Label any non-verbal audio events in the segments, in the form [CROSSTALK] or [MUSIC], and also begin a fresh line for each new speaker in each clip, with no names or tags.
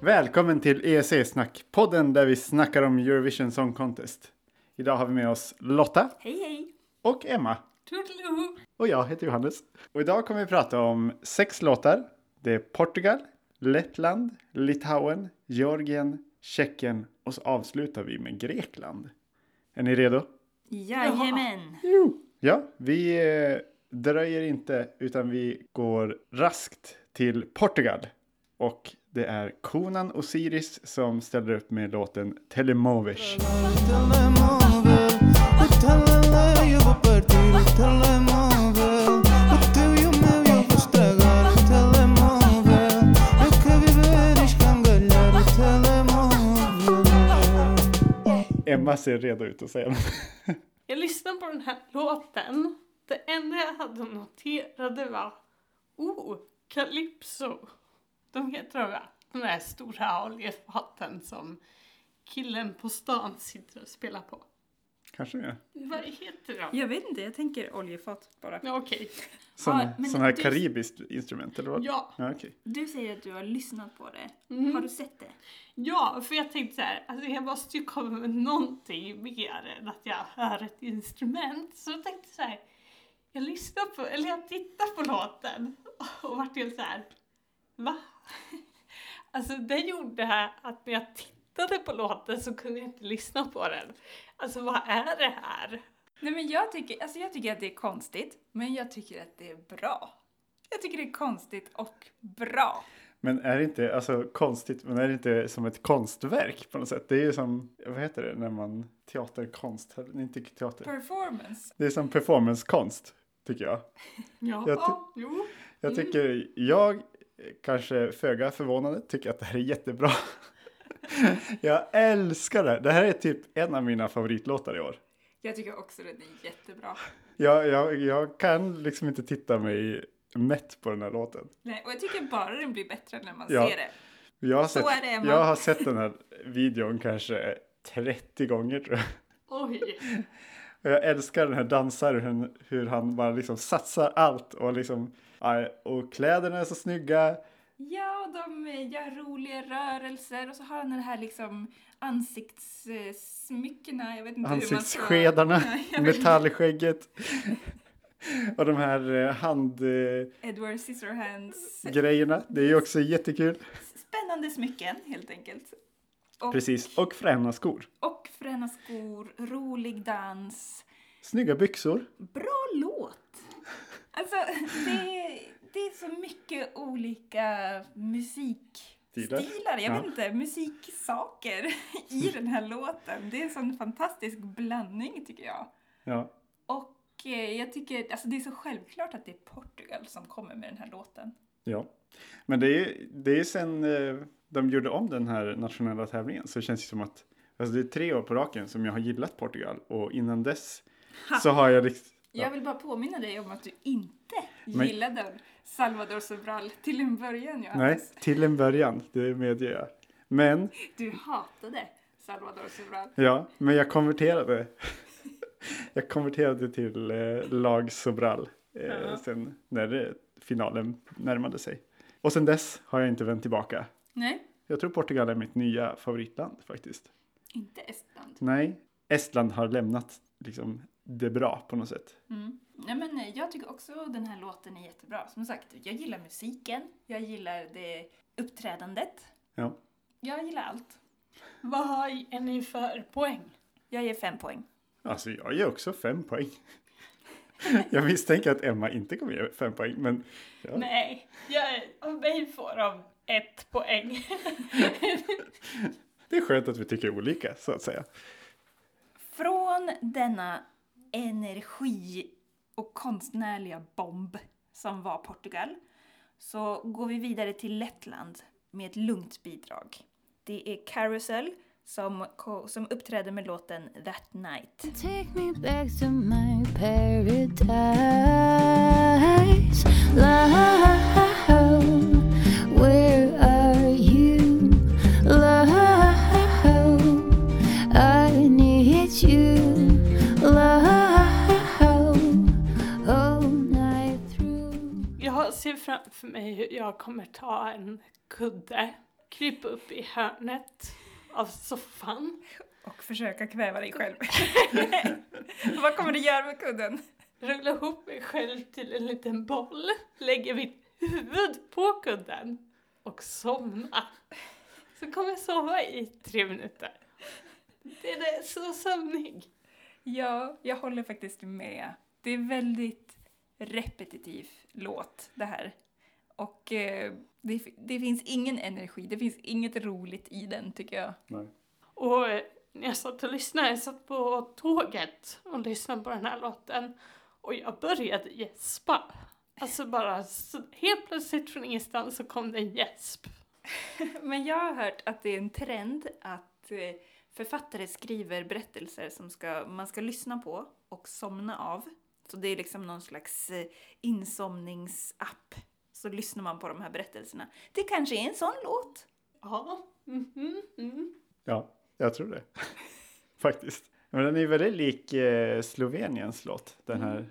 Välkommen till EEC-snack, podden där vi snackar om Eurovision Song Contest. Idag har vi med oss Lotta
Hej hej!
och Emma
Toodaloo!
och jag heter Johannes. Och idag kommer vi prata om sex låtar. Det är Portugal, Lettland, Litauen, Georgien, Tjeckien och så avslutar vi med Grekland. Är ni redo?
Jajamän!
Jo. Ja, vi eh, dröjer inte utan vi går raskt till Portugal. Och det är Conan Osiris som ställer upp med låten Telemovish.
telemóvel, o tele eu vou partir o telemóvel. O teu e o meu eu vou estragar o telemóvel. Eu quero viver e escangalhar o telemóvel.
Emma ser redo ut att säga något.
Jag lyssnade på den här låten. Det enda jag hade noterade var Oh, Calypso. De heter de va? De där stora oljefaten som killen på stan sitter och spelar på.
Kanske mer.
Vad heter de?
Jag vet inte, jag tänker oljefat bara.
Ja, Okej.
Sån,
Ja, men
sån här
du-
karibiskt instrument eller vad?
Ja.
ja okej.
Du säger att du har lyssnat på det.
Mm.
Har du sett det?
Ja, för jag tänkte så här, alltså jag måste ju komma med någonting mer än att jag hör ett instrument. Så jag tänkte så här, jag lyssnade på, eller jag tittade på låten och vart helt så här, va? Alltså det gjorde att när jag tittade på låten så kunde jag inte lyssna på den. Alltså vad är det här?
Nej men jag tycker, alltså jag tycker att det är konstigt, men jag tycker att det är bra. Jag tycker det är konstigt och bra.
Men är det inte, alltså konstigt, men är det inte som ett konstverk på något sätt? Det är ju som, vad heter det, när man teaterkonst, eller inte teater.
Performance.
Det är som performancekonst, tycker jag.
Ja,
Jag ty-
jo.
Jag
Mm.
tycker, jag eh, kanske föga förvånande tycker att det här är jättebra. [LAUGHS] jag älskar det. här. Det här är typ en av mina favoritlåtar i år.
Jag tycker också den är jättebra.
Jag, jag, jag kan liksom inte titta mig mätt på den här låten.
Nej, och jag tycker bara den blir bättre när man
Ja.
ser det.
Jag har,
Så
sett,
är det, Emma.
jag har sett den här videon kanske 30 gånger tror jag.
Oj.
Och jag älskar den här dansaren, hur han bara liksom satsar allt och liksom, ja, och kläderna är så snygga.
Ja, och de eh, gör roliga rörelser och så har han den här liksom ansiktssmyckena, jag vet inte hur man
Ansiktsskedarna,
Nej, jag vet.
metallskägget. Och de här eh, handgrejerna,
ska... Edward Scissorhands
det är ju också jättekul.
spännande smycken helt enkelt. Och,
Precis, och fräna skor.
och fräna skor, rolig dans,
Snygga byxor.
bra låt. Alltså det, det är så mycket olika musikstilar, jag
Ja.
vet inte, musiksaker i den här låten. Det är en sån fantastisk blandning tycker jag.
Ja,
Och eh, jag tycker, alltså det är så självklart att det är Portugal som kommer med den här låten.
ja. Men det är, det är sen eh, de gjorde om den här nationella tävlingen så det känns ju som att alltså det är tre år på raken som jag har gillat Portugal och innan dess så har jag liksom...
Jag vill bara påminna dig om att du inte
Men-
gillade Salvador Sobral till en början
Nej,
Johannes.
till en början, det medger jag. Men
Du hatade Salvador Sobral.
Ja, men jag konverterade. [LAUGHS] jag konverterade till eh, lag Sobral eh, sen när eh, finalen närmade sig. Och sen dess har jag inte vänt tillbaka.
Nej,
Jag tror Portugal är mitt nya favoritland faktiskt.
inte Estland.
Nej, Estland har lämnat liksom det bra på något sätt.
Mm. Nej, men eh, jag tycker också den här låten är jättebra. Som sagt, jag gillar musiken, jag gillar det uppträdandet.
Ja,
Jag gillar allt.
Vad har- är ni för poäng?
Jag ger fem poäng.
alltså jag ger också fem poäng. [LAUGHS] jag misstänker att Emma inte kommer ge fem poäng, men ja.
Nej, jag, av mig får de ett poäng.
det är skönt att vi tycker olika så att säga.
Från denna energi och konstnärliga bomb som var Portugal så går vi vidare till Lettland med ett lugnt bidrag. Det är Carousel som, ko- som uppträder med låten That Night.
Take me back to my paradise. Love, where are you? Love, I need you. Love, all night through.
Jag ser framför mig hur jag kommer ta en kudde krypa upp i hörnet av soffan.
Och försöka kväva dig [LAUGHS] själv. Vad kommer du göra med kudden?
Rulla ihop mig själv till en liten boll. Lägga mitt huvud på kudden. Och somna. Så kommer jag sova i tre minuter. Det är det, så sömnig.
Ja, jag håller faktiskt med. Det är väldigt repetitiv låt det här. Och eh, det, det finns ingen energi, det finns inget roligt i den tycker jag.
Nej.
Och eh, när jag satt och lyssnade, jag satt på tåget och lyssnade på den här låten och jag började gäspa. Alltså bara så, helt plötsligt från ingenstans så kom det en gäsp.
Men jag har hört att det är en trend att eh, författare skriver berättelser som ska, man ska lyssna på och somna av. Så det är liksom någon slags eh, insomningsapp. Så lyssnar man på de här berättelserna. Det kanske är en sån låt.
Ja. mhm, mm.
Ja, jag tror det. [LAUGHS] Faktiskt. Men den är väldigt lik eh, Sloveniens låt, den
Mm.
här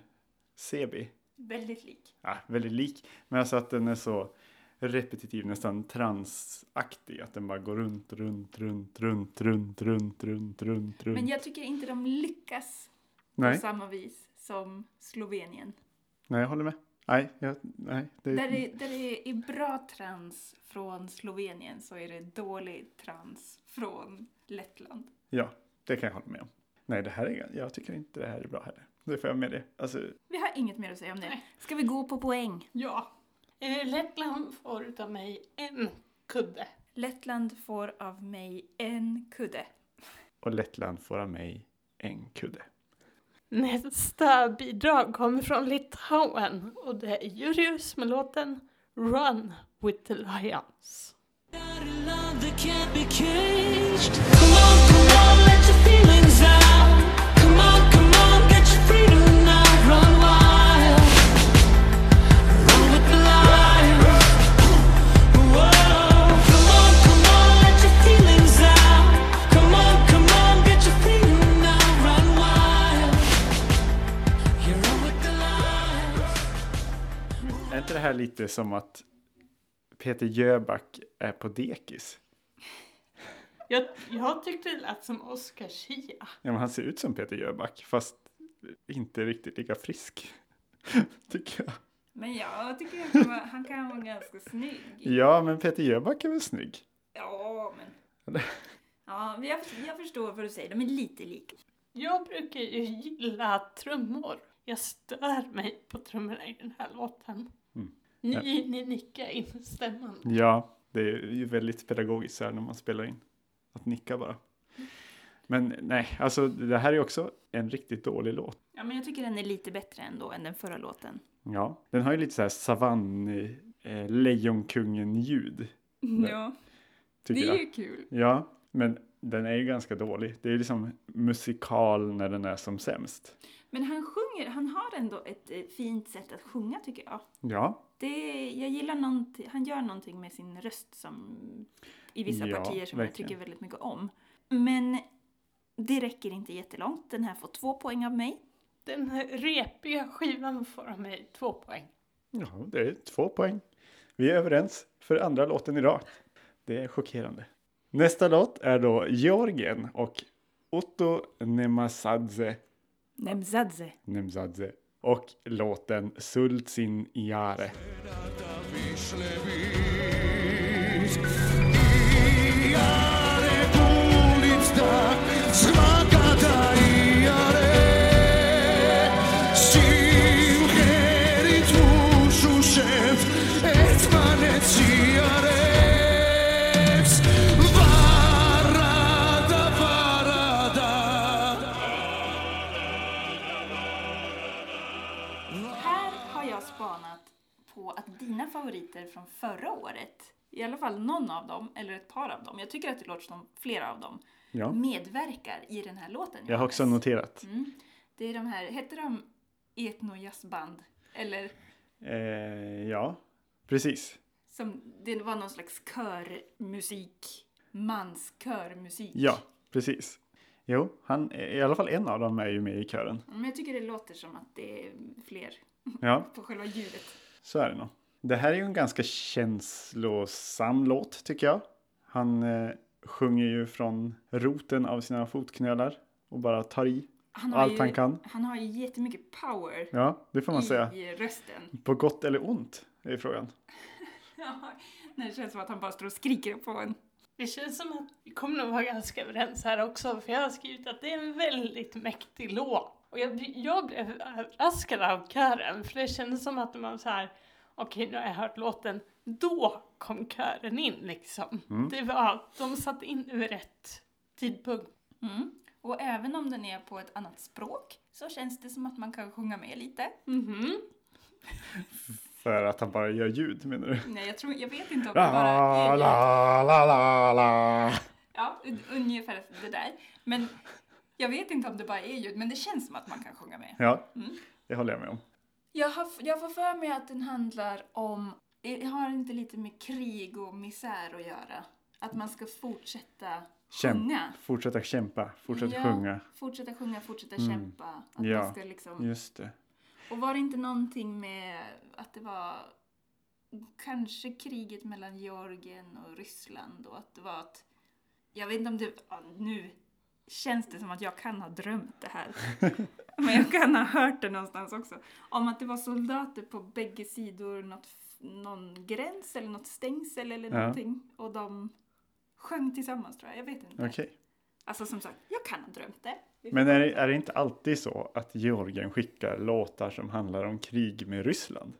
Sebi.
Väldigt lik.
Ja, väldigt lik, men alltså att den är så repetitiv, nästan transaktig. Att den bara går runt, runt, runt, runt, runt, runt, runt, runt, runt.
Men jag tycker inte de lyckas på
nej,
samma vis som Slovenien.
nej, jag håller med. Nej, jag, nej. Det,
Där det, där det är bra trans från Slovenien så är det dålig trans från Lettland.
Ja, det kan jag hålla med om. Nej, det här är, jag tycker inte det här är bra heller. Det får jag med det. Alltså,
Vi har inget mer att säga om det.
Nej.
Ska vi gå på poäng?
Ja. Eh, Lettland får utav mig en kudde.
Lettland får av mig en kudde.
och Lettland får av mig en kudde.
Nästa bidrag kommer från Litauen och det är Julius med låten Run with the Lions.
Love that can't be caged. Come on, come on, let your feelings out. Come on, come on, get your freedom now. Run wild, run with the lions. Whoa. Come on, come on, let your feelings out. Come on, come on, get your freedom now. Run wild, you run with the lions.
Är inte det här lite som att Peter Jöback är på dekis?
Jag, jag tyckte det lät som Oscar Schia.
Ja, men han ser ut som Peter Jöback, fast inte riktigt lika frisk. [LAUGHS] Tycker jag.
Men jag tycker han kan vara, han kan vara ganska snygg.
[LAUGHS] Ja, men Peter Jöback är väl snygg?
Ja, men... Ja, men jag, jag förstår vad du säger. De är lite lika.
Jag brukar ju gilla trummor. Jag stör mig på trummorna i den här låten.
Mm.
Ni, ni nickar instämmande.
Ja, det är ju väldigt pedagogiskt så här när man spelar in. Att nicka bara. Men nej, alltså det här är också en riktigt dålig låt.
Ja, men jag tycker den är lite bättre ändå än den förra låten.
Ja, den har ju lite så här savann, eh, lejonkungen-ljud.
Ja,
Tycker jag.
ju kul.
Ja, men den är ju ganska dålig. Det är ju liksom musikal när den är som sämst.
Men han sjunger, han har ändå ett eh, fint sätt att sjunga tycker jag.
Ja,
Det, jag gillar någonting, han gör någonting med sin röst som i vissa
Ja,
partier som jag
verkligen.
tycker väldigt mycket om. Men det räcker inte jättelångt. Den här får två poäng av mig.
Den här repiga skivan får av mig två poäng.
ja det är två poäng. Vi är överens för andra låten idag. Det är chockerande. Nästa låt är då Georgien och Otto Nemazadze
Nemzadze.
Nemzadze och låten Sultsin Jare.
Varada, varada
Här har jag spanat på att dina favoriter från förra året, i alla fall någon av dem, eller ett par av dem, jag tycker att det låter som flera av dem,
Ja,
medverkar i den här låten.
jag har också
Johannes.
noterat.
Mm. Det är de här, heter de etnojazzband? Eller
Eh, ja, precis.
som, det var någon slags körmusik, manskörmusik.
Ja, precis. Jo, han, i alla fall en av dem är ju med i kören.
Men jag tycker det låter som att det är fler
Ja,
på själva ljudet.
så är det nog. Det här är ju en ganska känslosam låt tycker jag. Han eh, sjunger ju från roten av sina fotknölar och bara tar i
Han har,
allt
ju,
han kan.
han har ju jättemycket power
Ja, det får man säga.
i rösten. [LAUGHS]
På gott eller ont är frågan.
Ja, det känns som att han bara står och skriker på en.
Det känns som att vi kommer nog vara ganska överens här också, för jag har skrivit att det är en väldigt mäktig låt. Och jag, bli- jag blev överraskad av kören, för det kändes som att man så här, okej nu har jag hört låten, då kom kören in liksom. Det var, de satte in vid rätt tidpunkt.
Mm. Och även om den är på ett annat språk så känns det som att man kan sjunga med lite.
Mhm.
För att han bara gör ljud menar du?
Nej, jag, tror, jag vet inte om det bara
La,
är
la, la, la, la.
Ja, un- ungefär det där. Men jag vet inte om det bara är ljud, men det känns som att man kan sjunga med.
Ja,
Mm.
det håller jag med om.
Jag, har, f- jag får för mig att den handlar om, det har inte lite med krig och misär att göra? Att man ska fortsätta
Kämpa.
sjunga.
Fortsätta kämpa, fortsätt
Ja,
sjunga.
Fortsätta sjunga, fortsätta
Mm.
kämpa. Att
Ja.
man ska liksom...
Just det.
Och var det inte någonting med att det var kanske kriget mellan Georgien och Ryssland och att det var att... Jag vet inte om det... Ja, nu känns det som att jag kan ha drömt det
[LAUGHS]
här. Men jag kan ha hört det någonstans också. Om att det var soldater på bägge sidor, något, f- någon gräns eller något stängsel eller
Ja.
någonting. Och de sjöng tillsammans tror jag, jag vet inte.
Okej.
Alltså som sagt, jag kan ha drömt det. Vi får
Men är det,
kolla.
är det inte alltid så att Georgien skickar låtar som handlar om krig med Ryssland?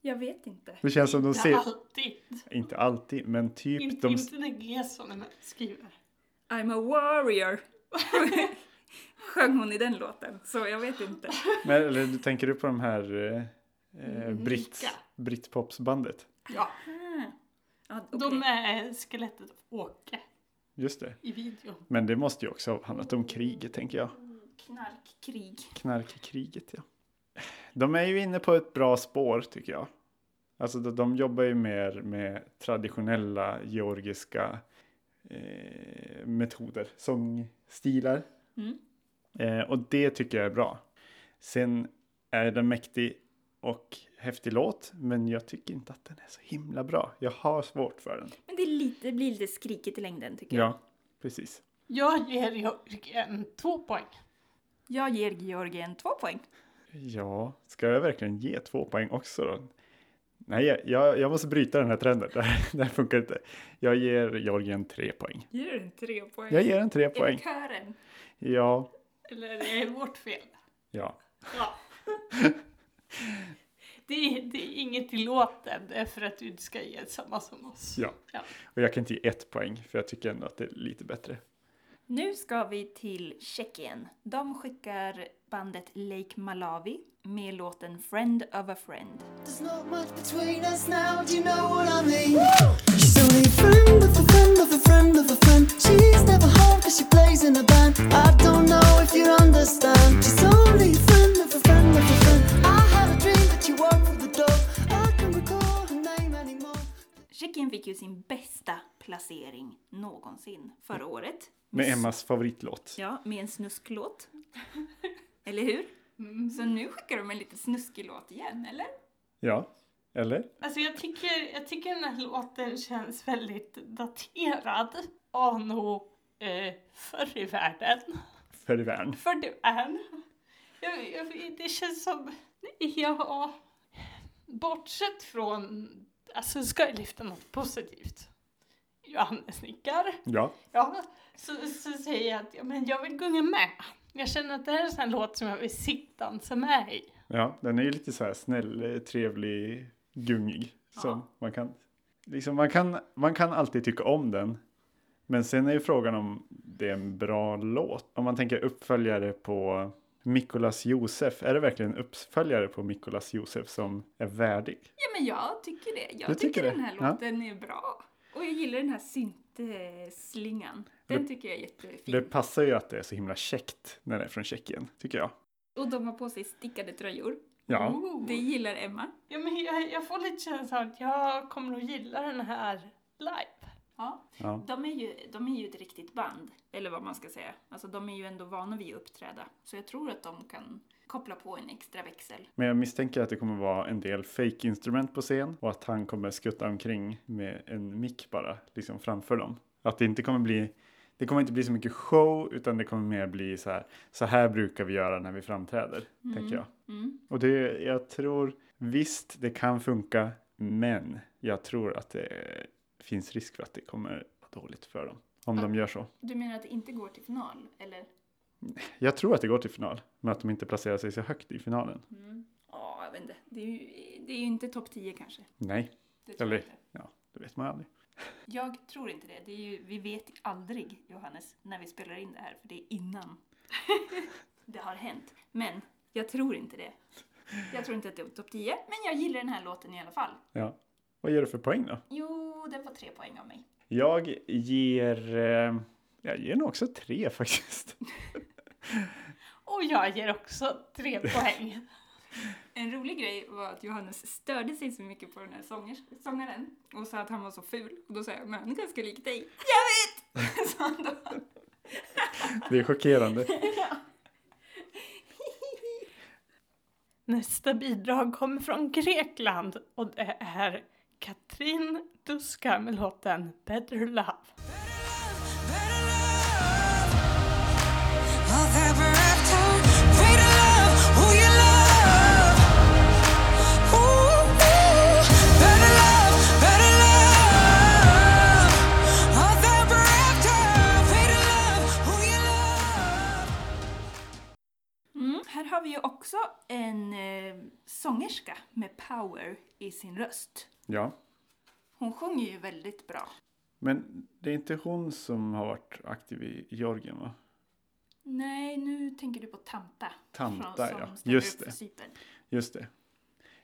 Jag vet inte.
Det känns som de
Inte
ser...
alltid.
Inte alltid, men typ
Inte,
de...
inte när Gesson skriver.
I'm a [LAUGHS] warrior. Sjöng hon i den låten, så jag vet inte.
Men, eller du tänker du på de här eh, eh, britt,
Nika.
brittpopsbandet?
Ja,
Ah. Ja,
de är skelettet av Åke
Just det.
i videon.
Men det måste ju också ha handlat om kriget, tänker jag.
Knarkkrig.
Knarkkriget, ja. De är ju inne på ett bra spår, tycker jag. Alltså, de, de jobbar ju mer med traditionella georgiska eh, metoder, sångstilar.
Mm.
Eh, och det tycker jag är bra. Sen är den mäktig och häftig låt, men jag tycker inte att den är så himla bra. Jag har svårt för den.
Men det, är lite, det blir lite skrikigt i längden tycker jag.
Ja, precis.
Jag ger Jörgen två poäng.
Jag ger Georgien två poäng.
Ja, ska jag verkligen ge två poäng också då? Nej, jag- jag, jag måste bryta den här trenden. [LAUGHS] Det här, det här funkar inte. Jag ger Georgien tre poäng.
Ger du tre poäng?
Jag ger en tre
Är det
poäng.
kören?
Ja,
Eller det är vårt fel.
ja.
Ja. Det är, det är inget till låten, det är för att du inte ska ge samma som oss.
Ja.
Ja.
Och jag kan inte ge ett poäng för jag tycker ändå att det är lite bättre.
Nu ska vi till Tjeckien. De skickar bandet Lake Malawi med låten Friend of a Friend.
There's not much between us now, do you know what I mean? She's only a friend of a friend of a friend of a friend. She's never home cause she plays in a band. I don't know if you understand. She's only a friend of a friend of a friend. I had a dream that you walked through the door. I can't recall her name anymore.
Tjeckien fick ju sin bästa placering någonsin förra året.
Med Emmas favoritlåt.
Ja, med en snusklåt. eller hur? Så nu skickar de en lite snuskig låt igen, eller?
Ja, eller?
Alltså jag tycker, jag tycker den här låten känns väldigt daterad. Anno eh, förr i världen.
För i världen.
För du är. Jag, jag, det känns som, ja, bortsett från, alltså ska jag lyfta något positivt? Johannes nickar.
Ja,
Ja, så, så säger jag att ja, men jag vill gunga med. Jag känner att det här är en sån här låt som jag vill sittdansa med i.
ja, den är ju lite så här snäll, eh, trevlig, gungig. Som man kan... Liksom man kan, man kan alltid tycka om den. Men sen är ju frågan om det är en bra låt. Om man tänker uppföljare på Mikolas Josef. Är det verkligen en uppföljare på Mikolas Josef som är värdig?
Ja, men jag tycker det. Jag
Du
tycker,
tycker det?
den här
Ja.
låten är bra. Och jag gillar den här syntslingan. Den tycker jag är jättefin.
Det passar ju att det är så himla käckt när det är från Tjeckien, tycker jag.
Och de har på sig stickade tröjor. Oh.
Ja,
Ooh.
Det gillar Emma.
Ja, men jag, jag får lite känslan av att jag kommer att gilla den här live.
Ja.
Ja.
De, är ju, de är ju ett riktigt band, eller vad man ska säga. Alltså de är ju ändå vana vid att uppträda. Så jag tror att de kan koppla på en extra växel.
Men jag misstänker att det kommer vara en del fake-instrument på scen och att han kommer skutta omkring med en mick bara, liksom framför dem. Att det inte kommer bli, det kommer inte bli så mycket show utan det kommer mer bli så här, så här brukar vi göra när vi framträder, tänker jag.
Mm.
Och det, jag tror, visst det kan funka, men jag tror att det finns risk för att det kommer vara dåligt för dem. Om de gör så.
Du menar att det inte går till final, eller?
Jag tror att det går till final, men att de inte placerar sig så högt i finalen.
Mm. Ja, jag vet inte. Det är ju, det är ju inte topp 10 kanske.
Nej,
Det tror
eller
jag inte.
ja, det vet man aldrig.
Jag tror inte det. det är ju, vi vet aldrig, Johannes, när vi spelar in det här, för det är innan [LAUGHS] det har hänt. Men jag tror inte det. Jag tror inte att det är topp 10, men jag gillar den här låten i alla fall.
Ja. Vad ger du för poäng då?
Jo, den får tre poäng av mig.
Jag ger... Eh, jag ger nog också tre [LAUGHS] faktiskt.
Och jag ger också tre poäng.
En rolig grej var att Johannes störde sig så mycket på den här sångers- sångaren och sa att han var så ful. Och då sa jag, men han är ganska lik dig. Jag [LAUGHS] vet! sa han då.
Det är chockerande.
Nästa bidrag kommer från Grekland och det är Katrin Duska med låten Better Love.
Mm. Här har vi ju också en eh, sångerska med power i sin röst.
Ja.
Hon sjunger ju väldigt bra.
Men det är inte hon som har varit aktiv i Georgien va?
Nej, nu tänker du på Tanta.
Tanta,
från- som
ja.
ställer
Just
upp för
det.
Cypern.
Just det.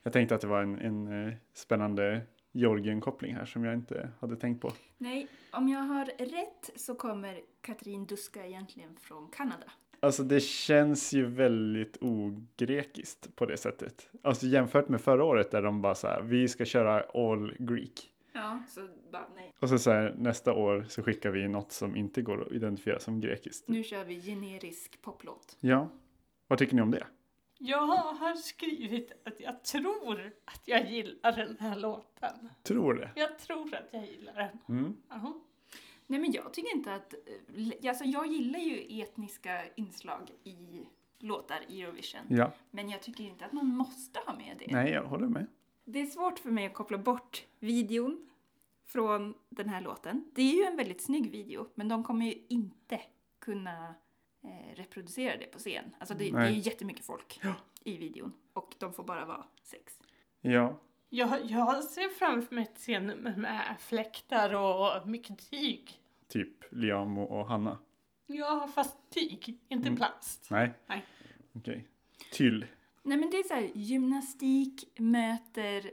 Jag tänkte att det var en, en eh, spännande Georgien-koppling här som jag inte hade tänkt på.
Nej, om jag har rätt så kommer Katrin Duska egentligen från Kanada.
Alltså det känns ju väldigt ogrekiskt på det sättet. Alltså jämfört med förra året där de bara så här, vi ska köra all Greek.
Ja, så bara nej.
Och så, så här, nästa år så skickar vi något som inte går att identifiera som grekiskt.
Nu kör vi generisk poplåt.
Ja, vad tycker ni om det?
Jag har skrivit att jag tror att jag gillar den här låten.
Tror det.
Jag tror att jag gillar den.
Mm.
Jaha.
Nej men jag tycker inte att... eh, Alltså jag gillar ju etniska inslag i låtar i Eurovision.
Ja,
Men jag tycker inte att man måste ha med det.
nej jag håller med.
Det är svårt för mig att koppla bort videon från den här låten. Det är ju en väldigt snygg video, men de kommer ju inte kunna eh, reproducera det på scen. Alltså det, det är
Nej.
ju jättemycket folk i videon och de får bara vara sex.
Ja,
Jag, jag ser framför mig ett scennummer med fläktar och mycket tyg.
typ Liam och, och Hanna.
Ja, fast tyg, inte plast.
Nej.
Nej.
Okej. Tyll.
Nej men det är så här, gymnastik möter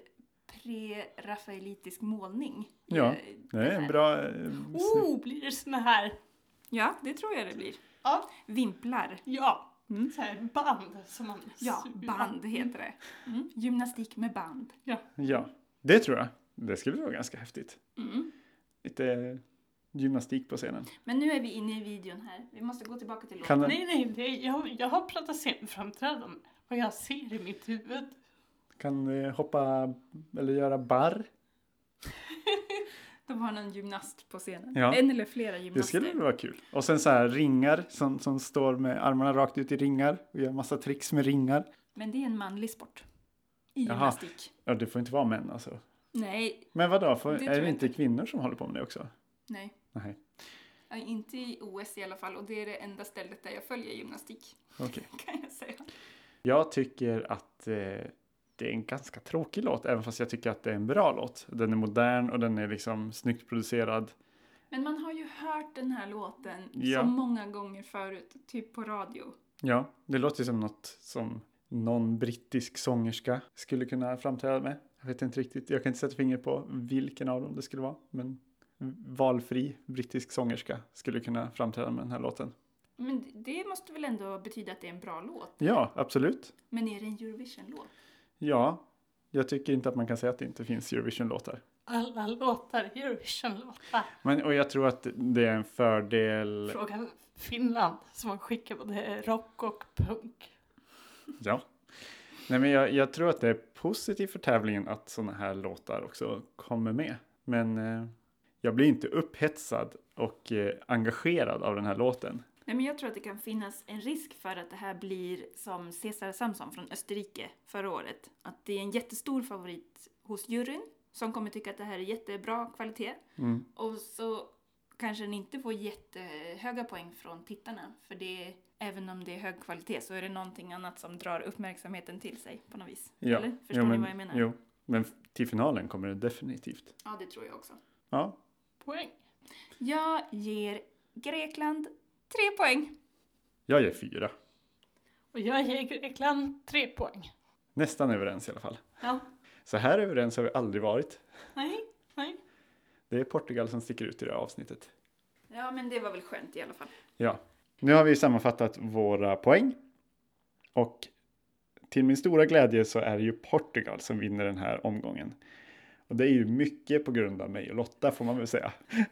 pre-rafaelitisk målning.
Ja,
Eh,
det är en bra... eh, snitt.
Oh, blir det såna här?
Ja, det tror jag det blir.
Ja,
Vimplar.
ja. Så här band som man...
Ja, band heter det. Mm. Gymnastik med band.
Ja, det tror jag. Det skulle vara ganska häftigt.
Mm.
Lite gymnastik på scenen.
Men nu är vi inne i videon här. Vi måste gå tillbaka till
Kan
låten.
den,
Nej, nej, nej. Jag, jag har pratat scenframträdande. Vad jag ser i mitt huvud.
kan eh, hoppa eller göra barr.
De har någon gymnast på scenen.
Ja.
En eller flera
Det
gymnaster.
skulle väl vara kul. Och sen så här ringar som, som står med armarna rakt ut i ringar och gör massa tricks med ringar.
Men det är en manlig sport. I
Jaha.
gymnastik.
Ja, det får inte vara män alltså.
Nej,
Men vadå, får,
Det
är
tror
det
jag
inte
inte.
kvinnor som håller på med det också?
nej.
Nej,
Ja, Inte i OS i alla fall. Och det är det enda stället där jag följer gymnastik. [LAUGHS]
okej.
Kan jag säga.
Jag tycker att eh, det är en ganska tråkig låt, även fast jag tycker att det är en bra låt. Den är modern och den är liksom snyggt producerad.
Men man har ju hört den här låten
Ja.
så många gånger förut. Typ på radio.
Ja, det låter som något som någon brittisk sångerska skulle kunna framträda med. Jag vet inte riktigt, jag kan inte sätta finger på vilken av dem det skulle vara, men valfri brittisk sångerska skulle kunna framträda med den här låten.
Men det- det måste väl ändå betyda att det är en bra låt.
Ja, absolut.
Men är det en Eurovision-låt?
Ja, jag tycker inte att man kan säga att det inte finns Eurovision-låtar.
Alla låtar, Eurovision-låtar.
Men, och jag tror att det är en fördel
Fråga Finland som har skickat både rock och punk.
Ja. Nej, men jag, jag tror att det är positivt för tävlingen att sådana här låtar också kommer med. Men eh, jag blir inte upphetsad och eh, engagerad av den här låten.
Nej, men jag tror att det kan finnas en risk för att det här blir som Cesar Samson från Österrike förra året. Att det är en jättestor favorit hos juryn som kommer tycka att det här är jättebra kvalitet.
Mm.
Och så kanske den inte får jättehöga poäng från tittarna. För det, även om det är hög kvalitet så är det någonting annat som drar uppmärksamheten till sig på något vis. Eller?
jo,
Förstår ni
men-
vad jag menar?
Jo, men f- till finalen kommer det definitivt.
Ja, det tror jag också.
Ja,
Poäng.
Jag ger Grekland tre poäng.
jag ger fyra.
Och jag ger Grekland tre poäng.
Nästan överens i alla fall.
Ja.
Så här överens har vi aldrig varit.
Nej, nej.
Det är Portugal som sticker ut i det här avsnittet.
Ja, men det var väl skönt i alla fall.
Ja, nu har vi sammanfattat våra poäng. Och till min stora glädje så är det ju Portugal som vinner den här omgången. Och det är ju mycket på grund av mig och Lotta får man väl säga. [LAUGHS]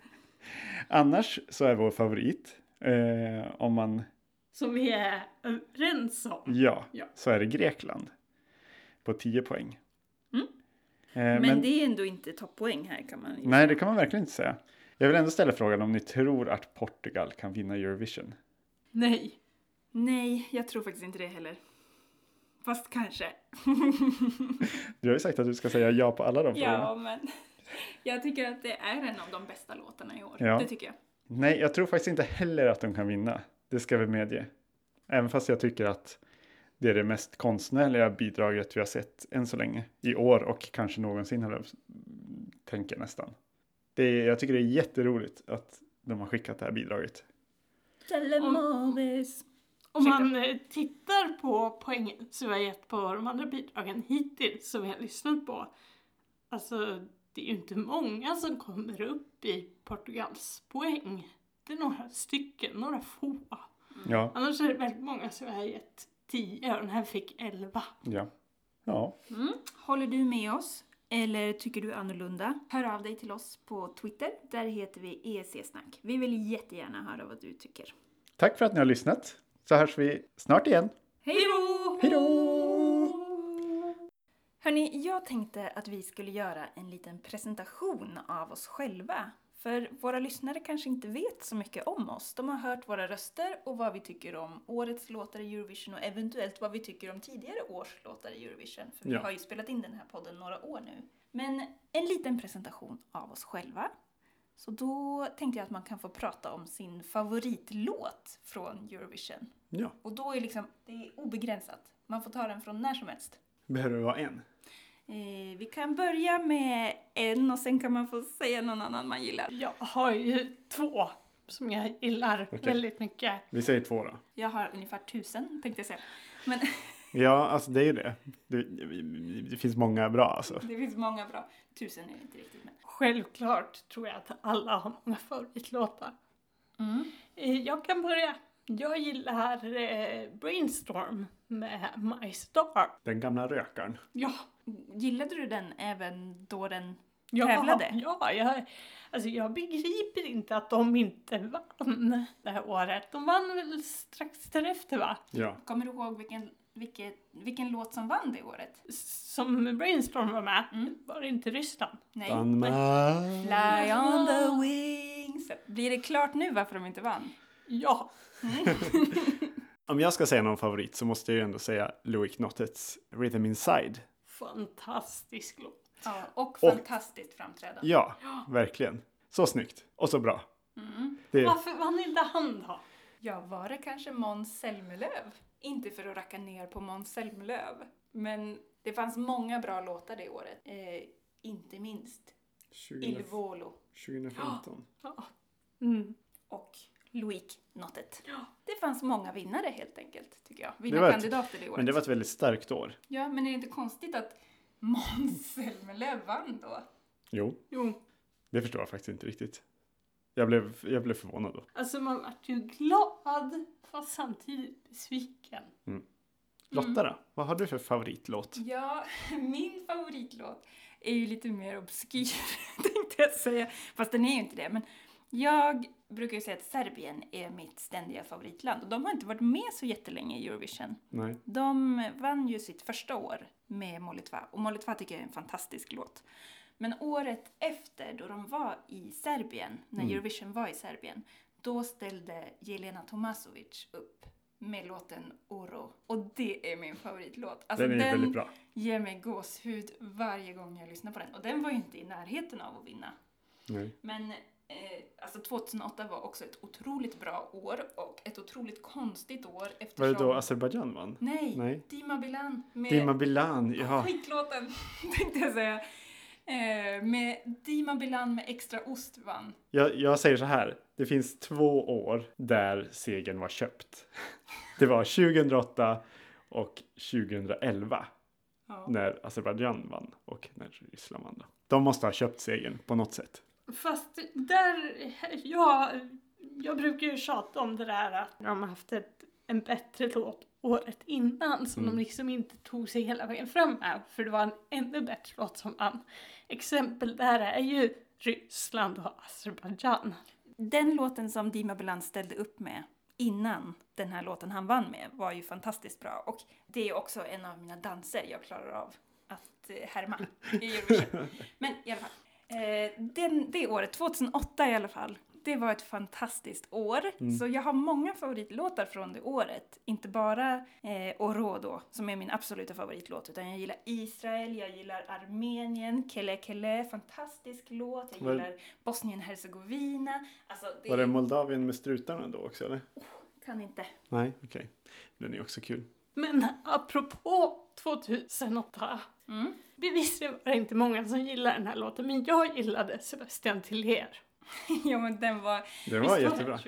Annars så är vår favorit, eh, om man
Som vi är överens om.
Ja,
Ja.
så är det Grekland. På 10 poäng.
Mm.
Eh,
Men,
men
det är ändå inte topppoäng här kan man ju
Nej, det kan man verkligen inte säga. Jag vill ändå ställa frågan om ni tror att Portugal kan vinna Eurovision.
Nej.
Nej, jag tror faktiskt inte det heller.
[LAUGHS]
Fast kanske.
Du har ju sagt att du ska säga ja på alla de
ja,
frågorna.
men [LAUGHS] jag tycker att det är en av de bästa låtarna i år.
Ja.
Det tycker jag.
Nej, jag tror faktiskt inte heller att de kan vinna. Det ska vi medge. Även fast jag tycker att det är det mest konstnärliga bidraget vi har sett än så länge. I år och kanske någonsin, höll jag tänker nästan. Det är, jag tycker det är jätteroligt att de har skickat det här bidraget.
Telemovis.
Om
Ursäkta.
man eh, tittar på poängen som vi har gett på de andra bidragen hittills som vi har lyssnat på. Alltså, det är ju inte många som kommer upp i Portugals poäng. Det är några stycken, några få.
Ja,
Annars är det väldigt många som har gett 10 och den här fick 11.
ja. Ja,
Håller du med oss? Eller tycker du annorlunda? Hör av dig till oss på Twitter. Där heter vi EC-snack. Vi vill jättegärna höra vad du tycker.
Tack för att ni har lyssnat. Så hörs vi snart igen.
Hej då!
Hej då!
Hörni, jag tänkte att vi skulle göra en liten presentation av oss själva. För våra lyssnare kanske inte vet så mycket om oss. De har hört våra röster och vad vi tycker om årets låtar i Eurovision och eventuellt vad vi tycker om tidigare års låtar i Eurovision. För vi
Ja.
har ju spelat in den här podden några år nu. Men en liten presentation av oss själva. Så då tänkte jag att man kan få prata om sin favoritlåt från Eurovision.
Ja,
Och då är liksom, det är obegränsat. Man får ta den från när som helst.
behöver det vara en?
Eh, vi kan börja med en och sen kan man få säga någon annan man gillar.
Jag har ju två som jag gillar väldigt mycket.
Vi säger två då.
Jag har ungefär tusen tänkte jag säga. Men [LAUGHS]
Ja, alltså det är ju det. Det, det finns många bra alltså.
det finns många bra. Tusen är det inte riktigt men.
Självklart tror jag att alla har många favoritlåtar. Eh, Jag kan börja. Jag gillar eh, Brainstorm med My Star.
Den gamla rökaren.
Ja,
Gillade du den även då den...
ja,
Tävlade?
Ja, jag, alltså jag begriper inte att de inte vann det här året. De vann väl strax därefter va?
Ja.
Kommer du ihåg vilken, vilken, vilken låt som vann det året?
Som Brainstorm var med. Var det inte Ryssland?
Nej.
Danmark.
Fly on the wings. Blir det klart nu varför de inte vann?
Ja,
Om jag ska säga någon favorit så måste jag ju ändå säga Louis Knottets Rhythm Inside.
fantastisk låt.
Ja, och fantastiskt framträdande.
Ja, verkligen. Så snyggt och så bra. Det,
Varför vann inte han då?
Ja, var det kanske Måns Zelmerlöw? Inte för att racka ner på Måns Zelmerlöw, men det fanns många bra låtar det året. Eh, inte minst Il Volo
2015.
Mm.
och Loic Nottet. Det fanns många vinnare helt enkelt, tycker jag.
Det var ett-
Vinnarkandidater det, året.
men det var ett väldigt starkt år.
Ja, men är det inte konstigt att Måns Zelmerlöw vann då?
Jo,
Jo,
det förstår jag faktiskt inte riktigt. Jag blev, jag blev förvånad då.
alltså man vart ju glad fast samtidigt besviken.
Lotta då? Vad har du för favoritlåt?
Ja, [LAUGHS] min [LAUGHS] favoritlåt är ju lite mer obskyr tänkte jag säga. Fast den är ju inte det. Men Jag brukar ju säga att Serbien är mitt ständiga favoritland och de har inte varit med så jättelänge i Eurovision.
Nej.
De vann ju sitt första år med Molitva och Molitva tycker jag är en fantastisk låt. Men året efter, då de var i Serbien, när
Mm.
Eurovision var i Serbien, då ställde Jelena Tomasovic upp med låten Oro. Och det är min favoritlåt. Alltså,
Den är väldigt bra.
ger mig gåshud varje gång jag lyssnar på den. Och den var ju inte i närheten av att vinna.
Nej.
Men eh, alltså 2008 var också ett otroligt bra år och ett otroligt konstigt år eftersom...
Var det då Azerbajdzjan vann?
Nej,
Nej.
Dima Bilan med
Dima Bilan, ja.
skitlåten [LAUGHS] tänkte jag säga. Eh, med Dima Bilan med extra ost vann.
Jag, jag säger så här. Det finns två år där segern var köpt. Det var 2008 och 2011
Ja.
när Azerbajdzjan vann och när Ryssland vann. Då. De måste ha köpt segern på något sätt.
Fast där, ja, jag brukar ju tjata om det där att de har haft ett, en bättre låt året innan som de liksom inte tog sig hela vägen fram med för det var en ännu bättre låt som vann. Exempel där är ju Ryssland och Azerbajdzjan.
Den låten som Dima Bilan ställde upp med innan den här låten han vann med var ju fantastiskt bra och det är också en av mina danser jag klarar av att eh, härma i Eurovision. Men i alla fall, eh, den, det året, 2008 i alla fall, det var ett fantastiskt år. Så jag har många favoritlåtar från det året. Inte bara eh, Oro då, som är min absoluta favoritlåt, utan jag gillar Israel, jag gillar Armenien, Kele Kele, fantastisk låt, jag
Var-
gillar Bosnien-Hercegovina. Alltså, det,
Var det Moldavien med strutarna då också eller?
kan inte. [LAUGHS]
Nej, okej. Den är också kul.
Men apropå 2008.
Mm.
Bevisligen var det inte många som gillade den här låten men jag gillade Sebastian Tellier.
ja, men den var...
Det var jättebra.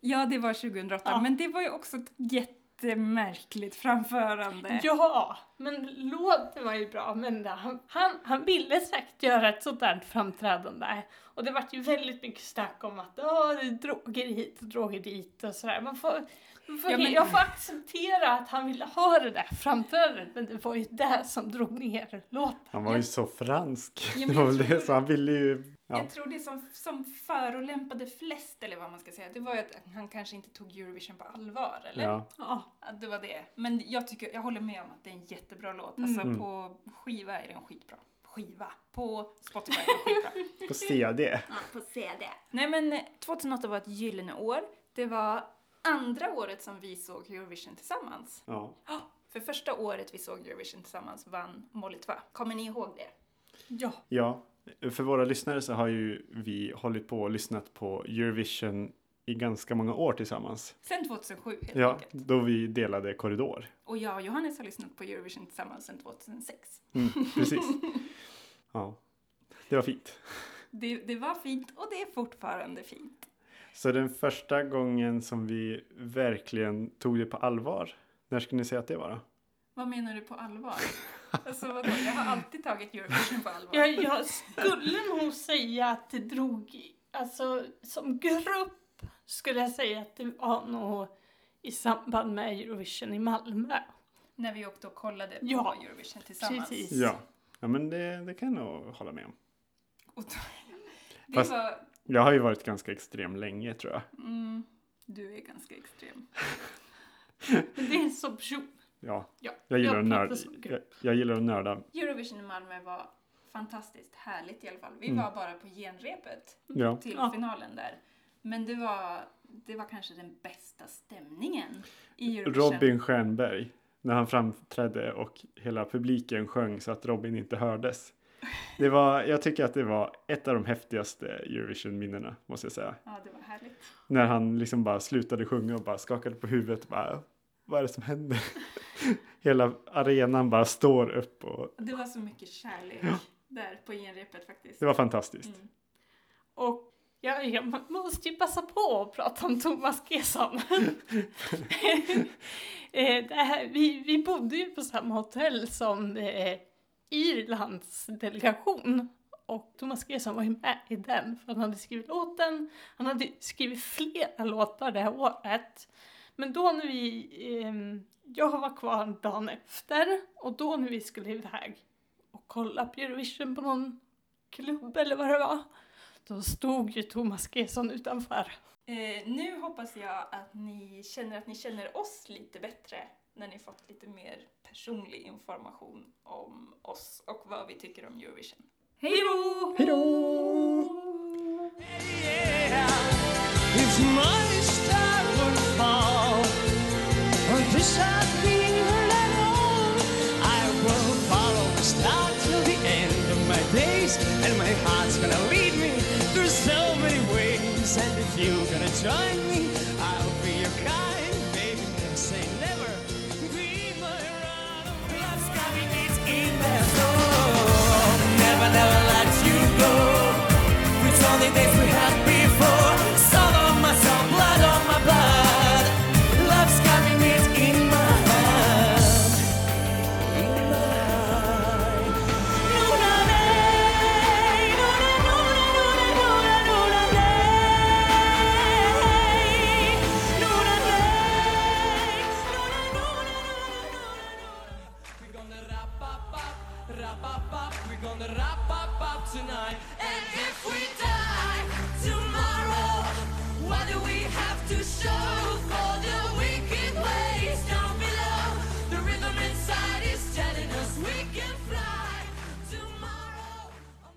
Ja, det var 2008,
Ja.
men det var ju också ett jättemärkligt framförande.
Ja, men låten var ju bra, men det- han, han, han ville säkert göra ett sånt där framträdande. Och det vart ju väldigt mycket snack om att "Åh, det är droger hit och droger dit och sådär. Man får, man får,
Ja, men-
Jag får acceptera att han ville ha det där framträdandet, men det var ju det som drog ner låten.
Han var ju så fransk. [LAUGHS]
Ja, men
det var väl
jag
det,
tror-
så han ville ju... Ja.
Jag tror det som, som förolämpade flest, eller vad man ska säga, det var ju att han kanske inte tog Eurovision på allvar, eller?
ja.
Ja,
Att det var det. Men jag, tycker, jag håller med om att det är en jättebra låt. Alltså
Mm.
på skiva är den skitbra. Skiva. På Spotify är den skitbra.
På CD.
Ja, på CD. Nej men eh, 2008 var ett gyllene år. Det var andra året som vi såg Eurovision tillsammans.
Ja.
Ja, För första året vi såg Eurovision tillsammans vann Molitva. Kommer ni ihåg det?
ja.
Ja, för våra lyssnare så har ju vi hållit på och lyssnat på Eurovision i ganska många år tillsammans.
Sen 2007 helt
Ja,
enkelt.
då vi delade korridor.
Och jag och Johannes har lyssnat på Eurovision tillsammans sedan 2006.
Mm, precis. Ja, det var fint.
Det, det var fint och det är fortfarande fint.
Så den första gången som vi verkligen tog det på allvar, när skulle ni säga att det var då?
Vad menar du på allvar? [LAUGHS] Alltså vadå? Jag har alltid tagit Eurovision på allvar.
Jag, jag skulle nog säga att det drog, alltså som grupp skulle jag säga att det var nog i samband med Eurovision i Malmö.
När vi åkte och kollade på
Ja,
Eurovision tillsammans.
precis.
Ja, ja men det, det kan jag nog hålla med om.
Och då, det
Fast-
var...
Jag har ju varit ganska extrem länge tror jag.
Mm, du är ganska extrem.
Men det är så person.
Ja,
Ja,
jag gillar,
jag
att, nörd,
pratar som grupp.
jag, jag gillar att nörda.
Eurovision i Malmö var fantastiskt härligt i alla fall. Vi
Mm.
var bara på genrepet
Ja,
till
Ja.
finalen där. Men det var, det var kanske den bästa stämningen i Eurovision.
Robin Stjernberg när han framträdde och hela publiken sjöng så att Robin inte hördes. Det var, jag tycker att det var ett av de häftigaste Eurovision-minnena måste jag säga.
Ja, det var härligt.
När han liksom bara slutade sjunga och bara skakade på huvudet och bara vad är det som händer? [LAUGHS] hela arenan bara står upp och
Det var så mycket kärlek där på genrepet faktiskt.
det var fantastiskt.
Mm.
Och jag, jag måste ju passa på att prata om Thomas Gesson. Eh, det här, vi, vi bodde ju på samma hotell som eh, Irlands delegation. Och Thomas Gesson var ju med i den, för han hade skrivit låten. Han hade skrivit flera låtar det här året. Men då när vi, ehm, jag var kvar dagen efter och då när vi skulle iväg och kolla på Eurovision på någon klubb eller vad det var. Då stod ju Thomas Gesson utanför.
Eh, nu hoppas jag att ni känner att ni känner oss lite bättre när ni fått lite mer personlig information om oss och vad vi tycker om Eurovision. Hej då!
Hej då!
If my star would fall, or disappear at all, I will follow the star till the end of my days, and my heart's gonna lead me through so many ways. And if you're gonna join me, I'll be your kind, baby. Never say never. Be my runaway. Love's got me deep in their soul. Never, never let you go. It's only days we had before. Soul on my soul, blood on my blood. Love's coming is in my heart. In my heart. Luna day, Luna, Luna, Luna, Luna, Luna day. Luna day, Luna, Luna, Luna, Luna, Luna. We're gonna rap up up, rap up up, we're gonna rap up up tonight. And if we